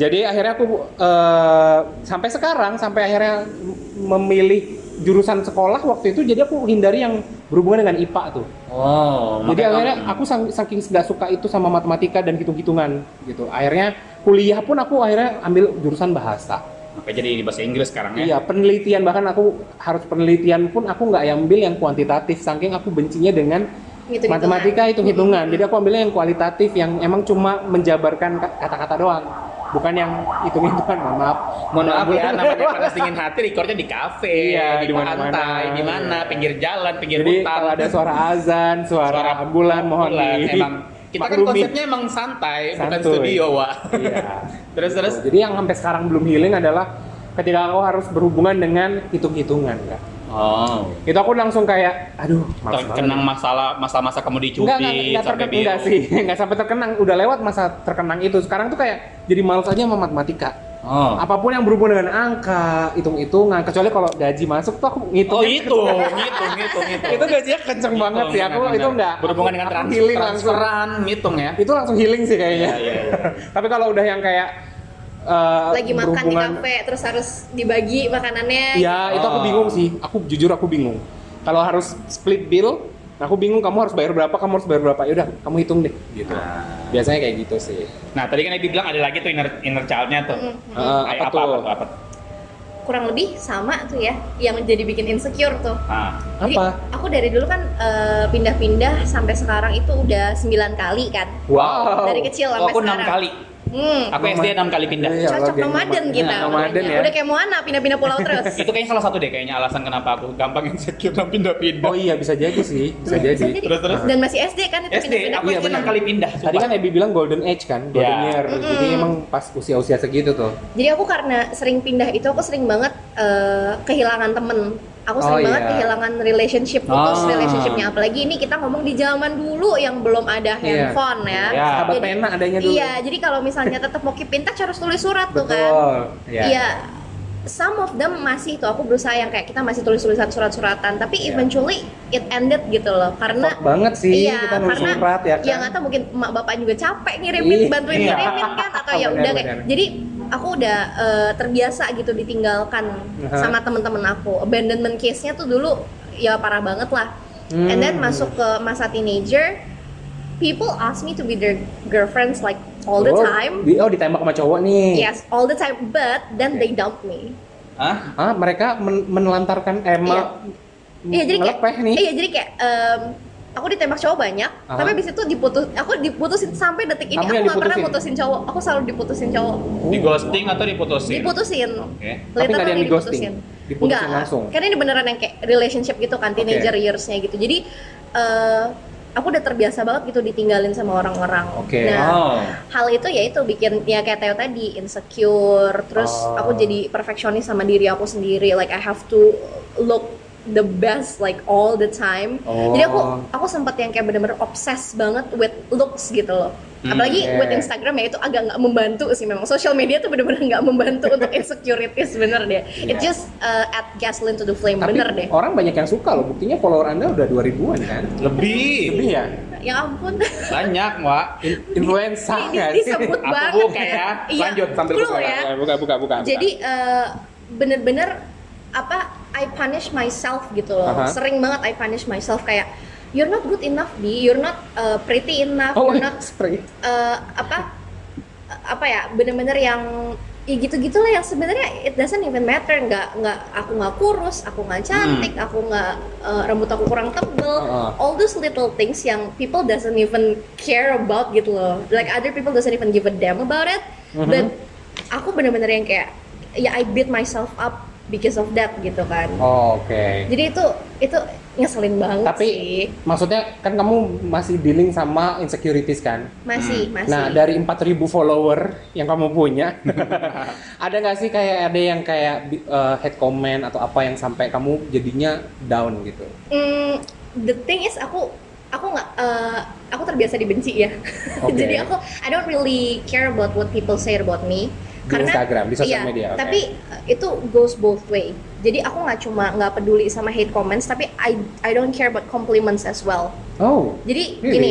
S3: Jadi akhirnya aku eh, sampai sekarang sampai akhirnya m- memilih jurusan sekolah waktu itu jadi aku hindari yang berhubungan dengan IPA tuh.
S2: Oh,
S3: Jadi
S2: makanya
S3: akhirnya
S2: kamu-
S3: aku sang- saking nggak suka itu sama matematika dan hitung-hitungan gitu. Akhirnya kuliah pun aku akhirnya ambil jurusan bahasa.
S2: makanya jadi di bahasa Inggris sekarang ya.
S3: Iya, penelitian bahkan aku harus penelitian pun aku nggak ambil yang kuantitatif saking aku bencinya dengan
S4: Gitu-gitu.
S3: matematika itu hitungan. Jadi aku ambilnya yang kualitatif yang emang cuma menjabarkan ka- kata-kata doang, bukan yang hitung-hitungan. Mohon maaf.
S2: Mohon maaf ya, namanya
S3: namanya.
S2: panas dingin hati, recordnya di kafe,
S3: Iya,
S2: di,
S3: di mana-mana.
S2: pantai, di mana, pinggir jalan, pinggir
S3: Jadi
S2: hutan.
S3: kalau ada suara azan, suara, ambulan, mohon
S2: ambulan,
S3: di-
S2: Emang kita kan
S3: maklumi.
S2: konsepnya emang santai, bukan
S3: Santuy.
S2: studio, Wak.
S3: Iya.
S2: [LAUGHS] Terus, terus.
S3: Jadi yang sampai sekarang belum healing adalah ketika aku harus berhubungan dengan hitung-hitungan, Kak.
S2: Oh.
S3: Itu aku langsung kayak, aduh, males banget.
S2: Terkenang masalah masa-masa kamu dicubit
S3: Enggak, enggak, enggak terkenang
S2: sampai biru.
S3: enggak sih. [LAUGHS] Enggak sampai terkenang, udah lewat masa terkenang itu. Sekarang tuh kayak jadi males aja sama matematika.
S2: Oh.
S3: Apapun yang berhubungan dengan angka, hitung-hitungan, kecuali kalau gaji masuk tuh aku ngitung.
S2: Oh itu, ngitung, ngitung, ngitung.
S3: [LAUGHS] itu gajinya kenceng banget sih. Aku itu enggak.
S2: berhubungan
S3: aku-
S2: dengan
S3: aku
S2: trans
S3: healing langsung.
S2: transferan, ngitung ya.
S3: Itu langsung healing sih kayaknya.
S2: Iya, iya, iya.
S3: [LAUGHS] Tapi kalau udah yang kayak eh,
S4: lagi makan di
S3: berhubungan-
S4: kafe gitu. terus harus dibagi makanannya
S3: Ya, itu aku
S2: Oh.
S3: bingung sih. Aku jujur aku bingung. Kalau harus split bill, nah aku bingung kamu harus bayar berapa, kamu harus bayar berapa. Ya udah, kamu hitung deh gitu.
S2: Nah.
S3: Biasanya kayak gitu sih.
S2: Nah, tadi kan Ebi bilang ada lagi tuh inner inner child-nya tuh.
S4: Mm-mm.
S3: Eh, apa,
S2: Ay,
S3: tuh?
S2: apa, apa, apa?
S4: kurang lebih sama tuh ya yang jadi bikin insecure tuh
S2: Ah.
S4: Jadi,
S3: Apa?
S4: aku dari dulu kan eh, pindah-pindah sampai sekarang itu udah 9 kali kan
S3: Wow.
S4: Dari kecil
S2: Oh,
S4: sampai
S2: aku enam
S4: sekarang.
S2: kali.
S4: hmm,
S2: Aku SD enam kali pindah.
S3: Iya,
S4: cocok
S3: lagi
S4: nomaden
S3: nomaden.
S4: kita
S3: Iya, nomaden
S4: orangnya.
S3: ya. kan
S4: udah kayak Moana pindah-pindah pulau
S3: [LAUGHS]
S4: terus
S2: Itu kayaknya salah satu deh kayaknya alasan kenapa aku gampang insecure dan pindah-pindah.
S3: Oh iya bisa jadi sih, bisa
S4: Bisa
S3: jadi.
S2: Terus, terus.
S4: dan masih SD kan itu
S2: SD,
S4: pindah-pindah
S2: aku
S3: Iya,
S2: SD enam
S3: benar.
S2: kali pindah.
S3: Tadi kan Ebi bilang golden age kan, golden
S2: Ya.
S3: year. Jadi
S4: Mm-mm.
S3: emang pas usia-usia segitu tuh.
S4: Jadi aku karena sering pindah itu aku sering banget eh, kehilangan temen. Aku
S3: Oh,
S4: sering
S3: iya.
S4: banget
S3: Oh.
S4: kehilangan relationship, putus
S2: Ah.
S4: relationshipnya. Apalagi ini kita ngomong di zaman dulu yang belum ada
S3: Iya.
S4: handphone ya.
S2: Iya.
S3: Sahabat
S4: Jadi-
S3: pena adanya dulu.
S4: Iya, jadi kalau misalnya tetap mau keep in touch harus tulis surat tuh kan.
S3: Betul. Iya.
S4: Iya. Some of them masih tuh aku berusaha yang kayak kita masih tulis tulisan surat-suratan, tapi
S3: Iya.
S4: eventually it ended gitu loh karena
S3: Effort banget sih kita nulis surat ya kan.
S4: yang nggak tahu mungkin emak bapak juga capek
S3: Iya.
S4: ngirimin bantuin ngirimin kan atau ya
S3: Benar,
S4: udah kayak
S3: benar.
S4: jadi aku udah eh, terbiasa gitu ditinggalkan
S3: Aha.
S4: sama temen-temen aku abandonment case nya tuh dulu ya parah banget lah and then
S3: Hmm.
S4: masuk ke masa teenager people ask me to be their girlfriends like all the
S3: Oh,
S4: time Iya.
S3: di- oh ditembak sama cowok nih.
S4: yes all the time but then they dump me
S2: Hah?
S3: Ah, mereka men- menelantarkan eh mel-
S4: Iya jadi kayak
S3: melepeh Hmm, nih.
S4: Iya jadi kayak em, aku ditembak cowok banyak,
S3: Aha.
S4: tapi abis itu diputus, aku diputusin sampai detik ini
S3: Kamu
S4: aku
S3: yang
S4: nggak pernah
S3: diputusin?
S4: mutusin cowok, aku selalu diputusin cowok,
S3: Oh.
S2: Di ghosting atau diputusin?
S4: diputusin.
S2: Oke.
S3: Tapi nggak ada yang
S4: Literally
S3: di ghosting? Diputusin
S4: Nggak,
S3: langsung?
S4: Karena ini beneran yang kayak relationship gitu kan, teenager years-nya gitu. Jadi eh, aku udah terbiasa banget gitu ditinggalin sama orang-orang.
S3: Oke.
S4: Nah,
S2: Oh.
S4: hal itu ya itu bikin ya kayak Teo tadi insecure terus
S3: Oh.
S4: aku jadi perfeksionis sama diri aku sendiri like I have to look the best like all the time
S3: Oh.
S4: jadi aku aku sempat yang kayak bener-bener obses banget with looks gitu loh apalagi
S3: Hmm, oke.
S4: with Instagram ya itu agak nggak membantu sih memang social media tuh bener-bener nggak membantu untuk insecurities bener deh
S3: Iya.
S4: it just uh, add gasoline to the flame
S3: Tapi oh.
S4: bener deh
S3: orang banyak yang suka loh. Buktinya follower Anda udah 2000-an kan?
S2: Lebih.
S3: Lebih ya?
S4: ya ampun
S2: Banyak, Wak.
S3: Influencer
S4: Ini
S3: kan?
S4: disebut
S2: Aku
S4: Iya. banget
S2: buka ya.
S4: Iya,
S2: Lanjut, sambil
S4: clue
S2: buka.
S4: ya
S3: Buka, buka, buka.
S4: jadi eh, bener-bener apa I punish myself gitu loh
S3: Aha.
S4: sering banget I punish myself kayak you're not good enough bi you're not eh, pretty
S3: [LAUGHS]
S4: enough
S3: oh,
S4: [LAUGHS] you're not
S3: sorry.
S4: eh, apa eh, apa ya bener-bener yang ya gitu gitulah yang sebenarnya it doesn't even matter nggak nggak aku nggak kurus aku nggak cantik
S3: Hmm.
S4: aku nggak eh, rambut aku kurang tebel
S3: Ah.
S4: all those little things yang people doesn't even care about gitu loh like other people doesn't even give a damn about it
S3: Mhm.
S4: but aku bener-bener yang kayak ya I beat myself up because of that gitu kan
S3: Oh, Oke.
S4: jadi itu itu ngeselin banget
S3: Tapi
S4: sih
S3: maksudnya kan kamu masih dealing sama insecurities kan?
S4: masih masih
S3: Nah, dari 4000 follower yang kamu
S4: [LAUGHS]
S3: punya, ada nggak sih kayak ada yang kayak bi- eh, head comment atau apa yang sampai kamu jadinya down gitu?
S4: Mm, the thing is aku aku nggak eh, aku terbiasa dibenci ya. [LAUGHS]
S3: Oke.
S4: Jadi aku I don't really care about what people say about me.
S3: Di Instagram, di sosial
S4: iya,
S3: media, oke.
S4: Tapi eh, itu goes both way. Jadi aku nggak cuma nggak peduli sama hate comments, tapi I I don't care about compliments as well.
S3: Oh.
S4: Jadi
S3: Really?
S4: gini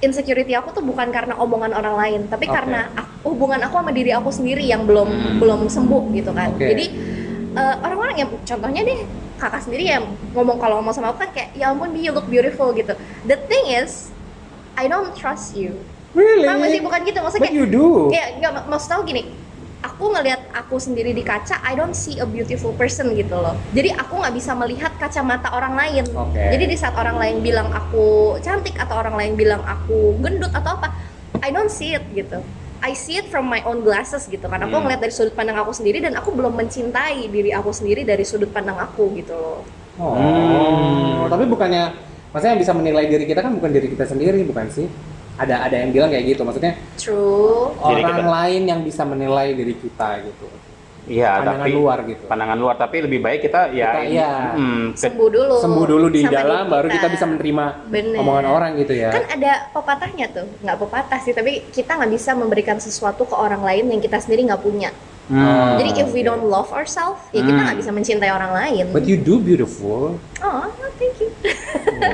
S4: insecurity aku tuh bukan karena omongan orang lain, tapi
S3: Oke. Hmm.
S4: karena aku- hubungan aku sama diri aku sendiri yang belum belum sembuh gitu kan.
S3: Oke.
S4: Jadi eh, orang-orang yang contohnya deh kakak sendiri ya ngomong kalau ngomong sama aku kan kayak ya ampun Bi, you look beautiful gitu the thing is I don't trust you
S3: Really?
S4: Paham gak sih? Bukan gitu, maksudnya
S3: But
S4: kayak
S3: you do.
S4: Kayak, nggak, mak- maksud aku gini Aku ngelihat aku sendiri di kaca, I don't see a beautiful person gitu loh Jadi aku nggak bisa melihat kacamata orang lain
S3: Oke.
S4: Jadi di saat orang lain bilang aku cantik Atau orang lain bilang aku gendut atau apa I don't see it gitu I see it from my own glasses gitu Karena aku
S3: Hmm.
S4: ngeliat dari sudut pandang aku sendiri Dan aku belum mencintai diri aku sendiri dari sudut pandang aku gitu loh
S3: Oh,
S2: Hmm.
S3: tapi bukannya maksudnya yang bisa menilai diri kita kan bukan diri kita sendiri, bukan sih? Ada ada yang bilang kayak gitu, maksudnya
S4: True
S2: Diri
S3: orang
S2: kita.
S3: lain yang bisa menilai diri kita gitu.
S2: Iya,
S3: Pandangan
S2: tapi
S3: luar gitu.
S2: Pandangan luar, tapi lebih baik kita ya
S3: Kita,
S2: ini,
S3: iya.
S2: mm, ke-
S4: Sembuh dulu
S3: Sembuh dulu di
S4: sama diri
S3: dalam, baru kita bisa menerima
S4: Bener.
S3: omongan orang gitu ya.
S4: kan ada pepatahnya tuh nggak pepatah sih tapi kita nggak bisa memberikan sesuatu ke orang lain yang kita sendiri nggak punya
S2: Hmm.
S4: jadi if we
S3: oke.
S4: don't love ourselves ya kita
S2: Hmm.
S4: nggak bisa mencintai orang lain
S3: But you do beautiful.
S4: oh thank you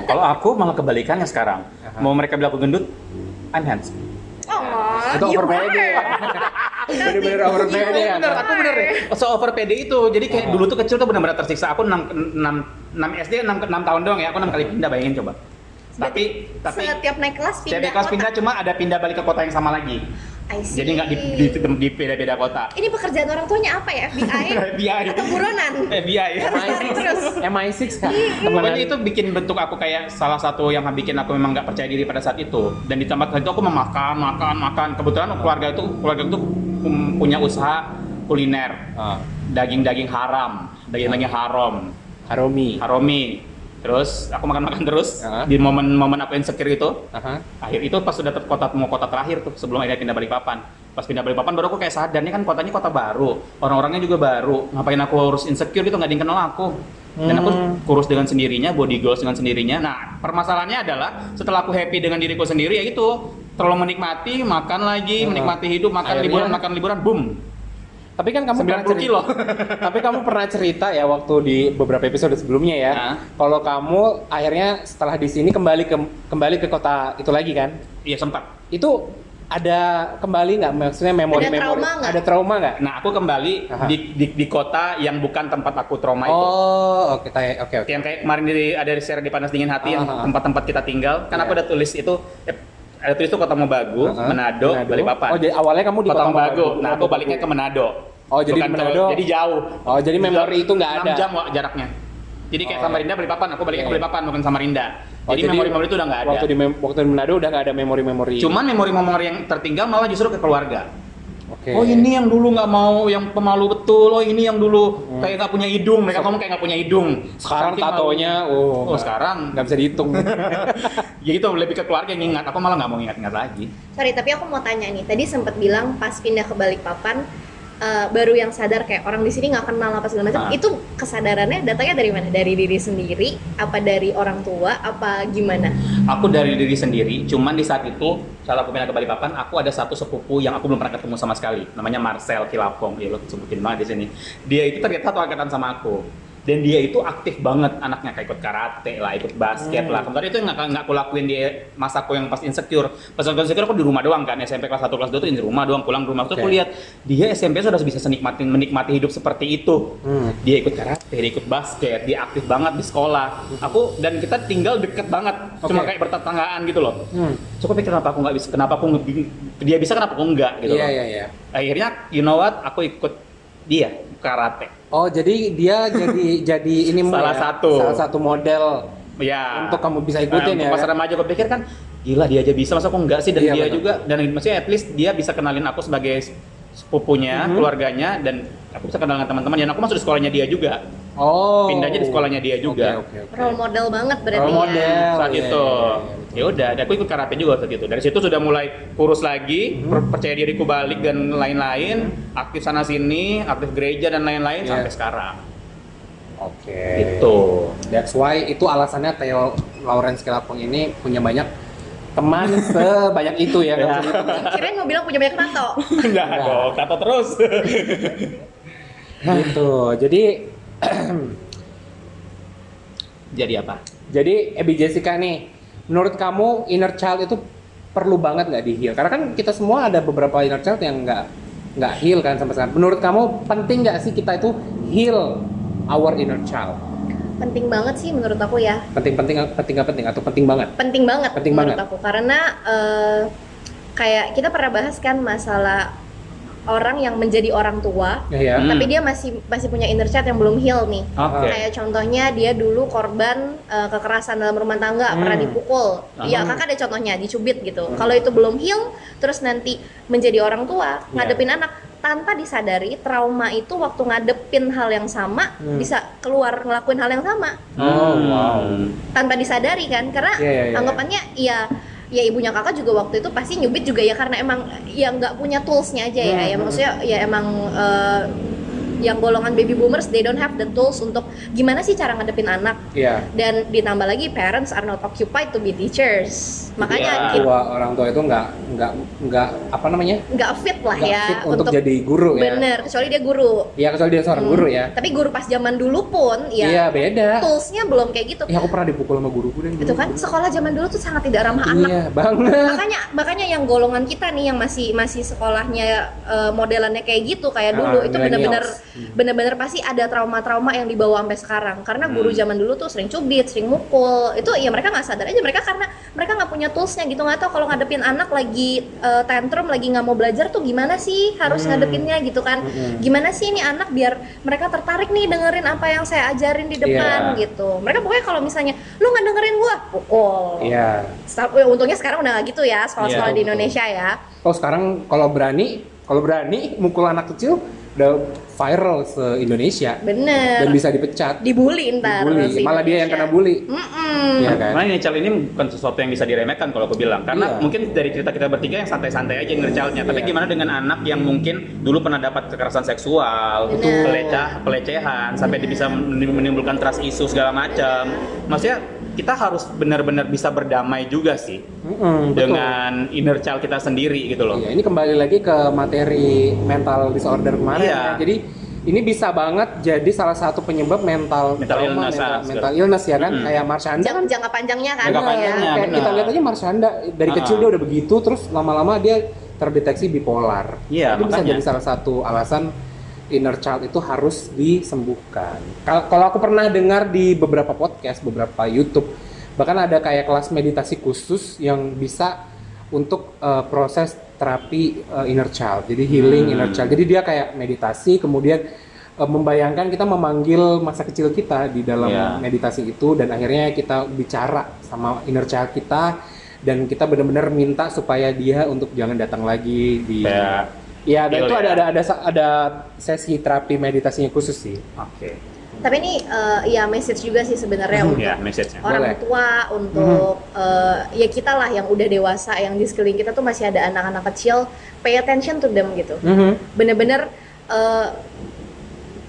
S2: Kalau aku malah kebalikannya sekarang.
S3: Aha.
S2: Mau mereka bilang aku gendut, I'm handsome.
S4: oh
S3: Itu
S2: Iya,
S4: you
S3: overpede.
S4: are.
S3: Bener-bener overpede ya.
S2: bener, aku bener deh. So over PD itu, jadi kayak
S3: Oh.
S2: dulu tuh kecil tuh benar-benar tersiksa. Aku 6, 6, 6 SD 6, 6 tahun doang ya, aku 6 kali pindah bayangin coba. Tapi tapi
S4: setiap naik kelas pindah
S2: setiap kelas
S4: kota.
S2: pindah cuma ada pindah balik ke kota yang sama lagi.
S4: I see.
S2: Jadi nggak di, di, di beda-beda kota.
S4: ini pekerjaan orang tuanya apa ya FBI
S2: [LAUGHS] FBI.
S4: atau buronan
S2: FBI.
S4: terus
S3: MI6 kan?
S2: Pokoknya
S3: Temenan.
S2: itu bikin bentuk aku kayak salah satu yang bikin aku memang nggak percaya diri pada saat itu. Dan di tempat itu aku memakan, makan, makan. Kebetulan keluarga itu keluarga itu pun- punya usaha kuliner,
S3: Ah,
S2: daging-daging haram, daging-daging haram.
S3: Haromi.
S2: Haromi. Terus aku makan-makan terus
S3: Ya.
S2: di momen-momen aku insecure itu.
S3: Aha.
S2: Akhir itu pas sudah ter- kota mau kota terakhir tuh sebelum akhirnya pindah Balikpapan. Pas pindah Balikpapan baru aku kayak sadar nih kan kotanya kota baru, orang-orangnya juga baru. Ngapain aku harus insecure gitu nggak ada yang kenal aku. Dan aku
S3: Hmm.
S2: kurus dengan sendirinya, body goals dengan sendirinya. Nah, permasalahannya adalah setelah aku happy dengan diriku sendiri ya itu terlalu menikmati, makan lagi,
S3: Hmm.
S2: menikmati hidup, makan
S3: Akhirnya-
S2: liburan, makan liburan, boom.
S3: Tapi kan kamu pernah
S2: 90 kilo.
S3: [LAUGHS] Tapi kamu pernah cerita ya waktu di beberapa episode sebelumnya ya.
S2: Nah.
S3: Kalau kamu akhirnya setelah di sini kembali ke kembali ke kota itu lagi kan?
S2: Iya sempat.
S3: Itu ada kembali nggak maksudnya memori-memori?
S4: trauma nggak?
S3: Ada trauma nggak?
S2: Nah, aku kembali
S3: Aha.
S2: di, di, di kota yang bukan tempat aku trauma itu.
S3: Oh, oke tay- oke oke.
S2: yang kayak kemarin di, ada di share di panas dingin hati yang
S3: Ah.
S2: tempat-tempat kita tinggal kan aku
S3: Iya.
S2: ada tulis itu eh, ada tulis itu kota Mobagu,
S3: Aha.
S2: Manado, Balikpapan.
S3: Oh, jadi awalnya kamu di
S2: kota, Mobagu. Nah, aku
S3: Mobagu.
S2: baliknya ke Manado.
S3: Oh, jadi
S2: Bukan
S3: di
S2: ke-
S3: Manado.
S2: jadi jauh.
S3: Oh, jadi memori itu nggak ada.
S2: 6 jam Wak, jaraknya. Jadi kayak
S3: Oh.
S2: Samarinda Balikpapan, aku baliknya
S3: Oke.
S2: ke Balikpapan bukan Samarinda.
S3: Oh,
S2: jadi memori-memori itu udah nggak ada.
S3: Waktu di mem- waktu di Manado udah nggak ada memori-memori.
S2: Cuman memori-memori yang tertinggal malah justru ke keluarga.
S3: Oke.
S2: Oh ini yang dulu nggak mau, yang pemalu betul. Oh ini yang dulu kayak nggak punya hidung. Mereka ngomong kayak nggak punya hidung.
S3: Hmm. sekarang
S2: Saking malu.
S3: tatonya oh,
S2: Oh, sekarang
S3: nggak bisa dihitung.
S2: Ya itu lebih ke keluarga yang ingat. Aku malah nggak mau ingat-ingat lagi.
S4: sorry tapi aku mau tanya nih tadi sempat bilang pas pindah ke Balikpapan eh, baru yang sadar kayak orang di sini nggak kenal apa segala
S2: Ah.
S4: macam itu kesadarannya datangnya dari mana dari diri sendiri apa dari orang tua apa gimana
S2: Aku dari diri sendiri. Cuman di saat itu saat aku pindah ke Balikpapan, aku ada satu sepupu yang aku belum pernah ketemu sama sekali. Namanya Marcel Kilapong. Ya lo sebutin banget di sini. Dia itu ternyata satu angkatan sama aku. Dan dia itu aktif banget anaknya kayak ikut karate lah, ikut basket lah.
S3: Hmm.
S2: Kemudian itu yang nggak nggak aku lakuin di masa aku yang pas insecure. Pas aku insecure aku di rumah doang kan. SMP kelas 1 kelas 2 tuh di rumah doang, pulang ke rumah. Terus aku
S3: Oke.
S2: lihat dia SMP sudah bisa senikmatin menikmati hidup seperti itu.
S3: Hmm.
S2: dia ikut karate, dia ikut basket, dia aktif banget di sekolah. Aku dan kita tinggal deket banget, cuma
S3: Oke.
S2: kayak bertetanggaan gitu loh.
S3: Hmm.
S2: Cukup pikir kenapa aku nggak bisa, kenapa aku nge- dia bisa kenapa aku nggak gitu
S3: Iya
S2: loh.
S3: iya iya.
S2: Akhirnya you know what, aku ikut dia karate.
S3: Oh, jadi dia jadi jadi ini mu
S2: Salah
S3: ya?
S2: satu.
S3: salah satu model
S2: Ya.
S3: Untuk kamu bisa ikutin ya,
S2: Nah, Untuk pas
S3: kan?
S2: remaja aku pikir kan gila dia aja bisa, masa aku nggak sih dan
S3: Iya,
S2: dia
S3: benar.
S2: juga dan maksudnya at least dia bisa kenalin aku sebagai sepupunya,
S3: Mhm.
S2: keluarganya dan aku bisa kenal dengan teman-teman dan aku masuk di sekolahnya dia juga.
S3: Oh.
S2: Pindahnya di sekolahnya dia juga.
S3: Oke, oke, oke.
S4: role model banget berarti
S3: Role
S4: ya.
S3: model.
S2: saat
S3: Iya,
S2: itu.
S3: iya, iya,
S2: Ya udah, dan aku ikut karate juga saat itu. Dari situ sudah mulai kurus lagi,
S3: Mhm.
S2: per- percaya diriku balik dan lain-lain, aktif sana sini, aktif gereja dan lain-lain
S3: Iya.
S2: sampai sekarang.
S3: Oke.
S2: Gitu. [LAUGHS]
S3: That's why itu alasannya Theo Lawrence Kelapong ini punya banyak teman sebanyak itu ya.
S2: Ya.
S3: Kak.
S4: kirain mau bilang punya banyak tato
S2: Enggak dong, kata terus. [LAUGHS]
S3: gitu. Jadi
S2: Jadi apa?
S3: jadi eh, Abby Jessica nih, menurut kamu inner child itu perlu banget nggak di heal? Karena kan kita semua ada beberapa inner child yang nggak nggak heal kan sama sekali. Menurut kamu penting nggak sih kita itu heal our inner child?
S4: penting banget sih menurut aku ya
S3: Penting-penting penting nggak penting atau penting banget?
S4: penting banget
S3: Penting
S4: menurut
S3: banget.
S4: aku karena eh, kayak kita pernah bahas kan masalah orang yang menjadi orang tua
S3: Ya, ya.
S2: Hmm.
S4: tapi dia masih masih punya inner child yang belum heal nih
S2: Oke.
S4: kayak contohnya dia dulu korban eh, kekerasan dalam rumah tangga pernah
S3: Hmm.
S4: dipukul ya
S2: Hmm.
S4: kakak ada contohnya dicubit gitu kalau itu belum heal terus nanti menjadi
S2: Ya.
S4: orang tua ngadepin anak tanpa disadari trauma itu waktu ngadepin hal yang sama
S3: Hmm.
S4: bisa keluar ngelakuin hal yang sama
S3: Oh, wow.
S4: tanpa disadari kan karena
S3: Iya, iya, iya.
S4: anggapannya ya ya ibunya kakak juga waktu itu pasti nyubit juga ya karena emang ya nggak punya toolsnya aja ya ya maksudnya ya emang eh, yang golongan baby boomers they don't have the tools untuk gimana sih cara ngadepin anak
S3: Iya.
S4: dan ditambah lagi parents are not occupied to be teachers makanya
S2: Iya.
S4: kita
S3: Tua orang tua itu nggak nggak nggak apa namanya?
S4: nggak fit lah
S3: Nggak
S4: ya
S3: fit untuk, jadi guru ya.
S4: bener kecuali dia guru
S3: Iya kecuali dia seorang
S4: Hmm.
S3: guru ya.
S4: tapi guru pas zaman dulu pun
S3: Iya
S4: ya
S3: beda.
S4: toolsnya belum kayak gitu
S3: Ya aku pernah dipukul sama guru gue dan
S4: itu kan sekolah zaman dulu tuh sangat tidak ramah anak
S3: Iya banget.
S4: makanya makanya yang golongan kita nih yang masih masih sekolahnya eh, modelannya kayak gitu kayak
S3: Ah,
S4: dulu itu benar-benar
S3: millennials. Hmm.
S4: benar-benar pasti ada trauma-trauma yang dibawa sampai sekarang karena
S3: Hmm.
S4: guru zaman dulu tuh sering cubit sering mukul itu ya mereka nggak sadar aja mereka karena mereka nggak punya toolsnya gitu nggak tahu kalau ngadepin anak lagi eh, tantrum lagi nggak mau belajar tuh gimana sih harus
S3: Hmm.
S4: ngadepinnya gitu kan gimana sih ini anak biar mereka tertarik nih dengerin apa yang saya ajarin di depan
S2: Iya.
S4: gitu mereka pokoknya kalau misalnya lu nggak dengerin gua pukul
S3: Iya.
S4: Sa- eh, untungnya sekarang udah nggak gitu ya sekolah-sekolah
S3: Iya,
S4: di
S3: betul.
S4: Indonesia ya.
S3: Oh sekarang kalau berani kalau berani mukul anak kecil udah viral se Indonesia
S4: Bener.
S3: dan bisa dipecat.
S4: dibully ntar.
S3: Dibully.
S4: si
S3: Malah dia yang kena
S4: Indonesia.
S3: bully.
S4: Mm-mm.
S3: Iya kan.
S2: Karena inner child ini bukan sesuatu yang bisa diremehkan kalau aku bilang Karena
S3: Iya.
S2: mungkin dari cerita kita bertiga yang santai-santai aja inner child-nya Tapi
S3: Iya.
S2: gimana dengan anak yang mungkin dulu pernah dapat kekerasan seksual
S4: Betul.
S2: pelecah, Pelecehan, sampai bisa menim- menimbulkan trust issue segala macam Maksudnya kita harus benar-benar bisa berdamai juga sih Iya,
S3: Mm-mm, betul.
S2: Dengan inner child kita sendiri gitu loh
S3: Iya, ini kembali lagi ke materi mental disorder kemarin.
S2: Iya.
S3: ya. Jadi ini bisa banget jadi salah satu penyebab mental
S2: Mental
S3: trauma,
S2: illness,
S3: mental,
S2: ah,
S3: mental illness ya kan
S2: Mm-mm.
S3: kayak Marshanda
S4: Jang-
S3: kan
S4: jangka panjangnya kan.
S2: Jangka
S4: ya.
S2: panjangnya.
S3: kayak
S2: benar.
S3: kita lihat aja Marshanda dari
S2: Ah.
S3: kecil dia udah begitu terus lama-lama dia terdeteksi bipolar.
S2: Iya,
S3: Jadi bisa
S2: makanya.
S3: jadi salah satu alasan inner child itu harus disembuhkan. Kal- Kalau aku pernah dengar di beberapa podcast, beberapa YouTube, bahkan ada kayak kelas meditasi khusus yang bisa untuk eh, proses terapi eh, inner child. Jadi healing
S2: Hmm.
S3: inner child. Jadi dia kayak meditasi kemudian eh, membayangkan kita memanggil masa kecil kita di dalam
S2: Iya.
S3: meditasi itu dan akhirnya kita bicara sama inner child kita dan kita benar-benar minta supaya dia untuk jangan datang lagi di
S2: Kayak
S3: Iya, dan
S2: Deal
S3: itu
S2: ya.
S3: ada ada ada ada sesi terapi meditasinya khusus sih.
S2: Oke
S4: Tapi ini eh, ya message juga sih sebenarnya untuk
S2: Ya message-nya
S4: orang
S3: Mm-hmm. Iya. Boleh. Mm-hmm.
S4: tua, untuk eh, ya kita lah yang udah dewasa, yang di sekeliling kita tuh masih ada anak-anak kecil, pay attention to them gitu. bener-bener eh,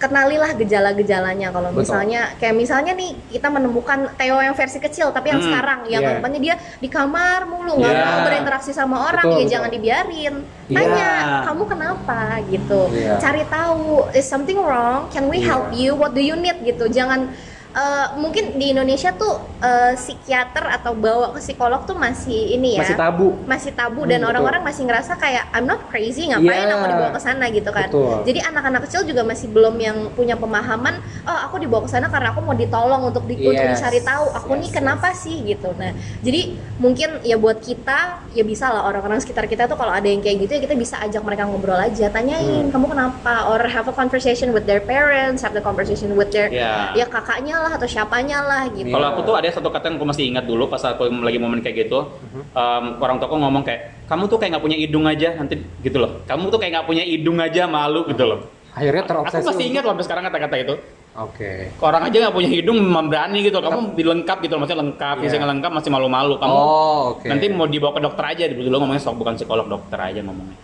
S4: kenalilah gejala-gejalanya kalau
S3: Betul.
S4: misalnya kayak misalnya nih kita menemukan Theo yang versi kecil tapi yang
S2: Hmm,
S4: sekarang yang
S3: iya.
S4: anggapannya dia di kamar mulu nggak
S2: Iya.
S4: mau berinteraksi sama orang
S3: Betul,
S4: ya
S3: betul.
S4: jangan dibiarin
S3: Iya.
S4: tanya kamu kenapa gitu
S3: Iya.
S4: cari tahu is something wrong can we
S3: Iya.
S4: help you what do you need gitu jangan eh, mungkin di Indonesia tuh eh, psikiater atau bawa ke psikolog tuh masih ini ya
S3: Masih tabu.
S4: masih tabu
S3: Hmm,
S4: dan
S3: betul.
S4: orang-orang masih ngerasa kayak I'm not crazy ngapain
S3: Yeah.
S4: aku dibawa ke sana gitu kan.
S3: Betul.
S4: Jadi anak-anak kecil juga masih belum yang punya pemahaman oh aku dibawa ke sana karena aku mau ditolong untuk di untuk
S3: Yes.
S4: dicari tahu aku nih
S3: Yes,
S4: kenapa sih gitu. Nah, jadi mungkin ya buat kita ya bisa lah orang-orang sekitar kita tuh kalau ada yang kayak gitu ya kita bisa ajak mereka ngobrol aja, tanyain
S3: Hmm.
S4: kamu kenapa or have a conversation with their parents, have the conversation with their
S2: Ya.
S4: ya kakaknya lah atau siapanya lah gitu.
S2: Kalau
S3: Iya.
S2: aku tuh ada satu kata yang aku masih ingat dulu pas aku lagi momen kayak gitu,
S3: Mhm.
S2: em, orang toko ngomong kayak, kamu tuh kayak nggak punya hidung aja nanti gitu loh, kamu tuh kayak nggak punya hidung aja malu gitu loh.
S3: Akhirnya
S2: Aku
S3: terobsesi.
S2: masih
S3: untuk-
S2: ingat loh sampai sekarang kata-kata itu.
S3: Oke.
S2: Orang aja nggak punya hidung memberani gitu, kamu dilengkap gitu loh, masih lengkap,
S3: Iya.
S2: bisa nggak lengkap masih malu-malu. Kamu
S3: Oh, oke.
S2: nanti mau dibawa ke dokter aja dulu ngomongnya sok bukan psikolog dokter aja ngomongnya.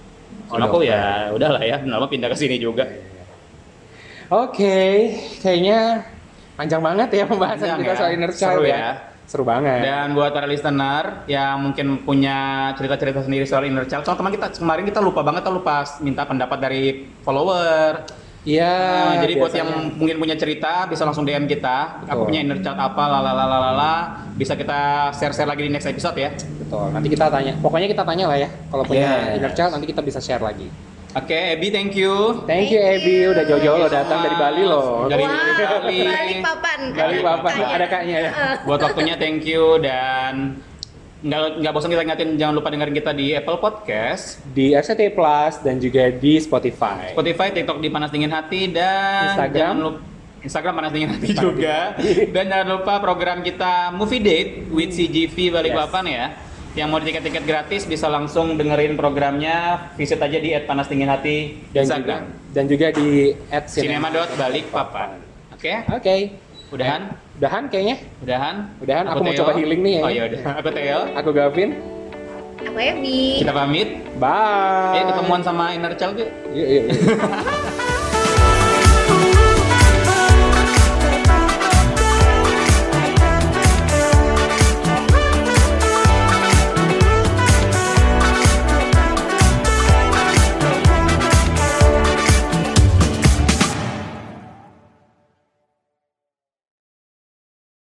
S3: Oh,
S2: Karena aku
S3: dokter.
S2: ya udahlah ya, lama pindah ke sini juga.
S3: iya, Oke, kayaknya panjang banget ya pembahasan
S2: Panjang
S3: kita
S2: ya.
S3: soal inner child
S2: Seru
S3: ya.
S2: ya.
S3: Seru banget.
S2: Dan buat para listener yang mungkin punya cerita-cerita sendiri soal inner child, soal teman kita kemarin kita lupa banget, kita lupa minta pendapat dari follower.
S3: Iya.
S2: Nah, jadi buat
S3: biasanya.
S2: yang mungkin punya cerita bisa langsung DM kita.
S3: Betul.
S2: Aku punya inner child apa, lalalalala. Bisa kita share-share lagi di next episode ya.
S3: betul. Nanti kita tanya. Pokoknya kita tanya lah ya. Kalau punya
S2: Yes.
S3: inner child nanti kita bisa share lagi.
S2: Oke, Ebi, thank you.
S3: Thank you Ebi udah jauh-jauh lo datang dari Bali lo.
S2: Dari-
S4: wow,
S2: dari-
S4: balik papan.
S3: Balik papan, ada kaknya ya.
S2: Buat waktunya thank you dan nggak nggak bosan kita ingatin jangan lupa dengerin kita di Apple Podcast,
S3: Di RCT Plus dan juga di Spotify.
S2: Spotify, TikTok di Panas Dingin Hati dan
S3: Instagram.
S2: jangan lupa Instagram Panas Dingin Hati
S3: [LAUGHS]
S2: juga dan jangan lupa program kita Movie Date with CGV Balikpapan ya. Yang mau tiket-tiket gratis bisa langsung dengerin programnya, visit aja di @panasdinginhati
S3: Dan juga,
S2: Instagram.
S3: dan juga di at
S2: Cinema. Balikpapan. Oke,
S3: Oke.
S2: udahan,
S3: Udahan kayaknya.
S2: udahan.
S3: Udahan, aku mau
S2: Teo.
S3: coba healing nih ya.
S2: Oh iya udah, aku Teo.
S3: Aku Gavin.
S4: Aku Ebi.
S2: Kita pamit.
S3: Bye.
S2: Iya, Eh ketemuan sama inner child yuk.
S3: Yuk, yuk, yuk.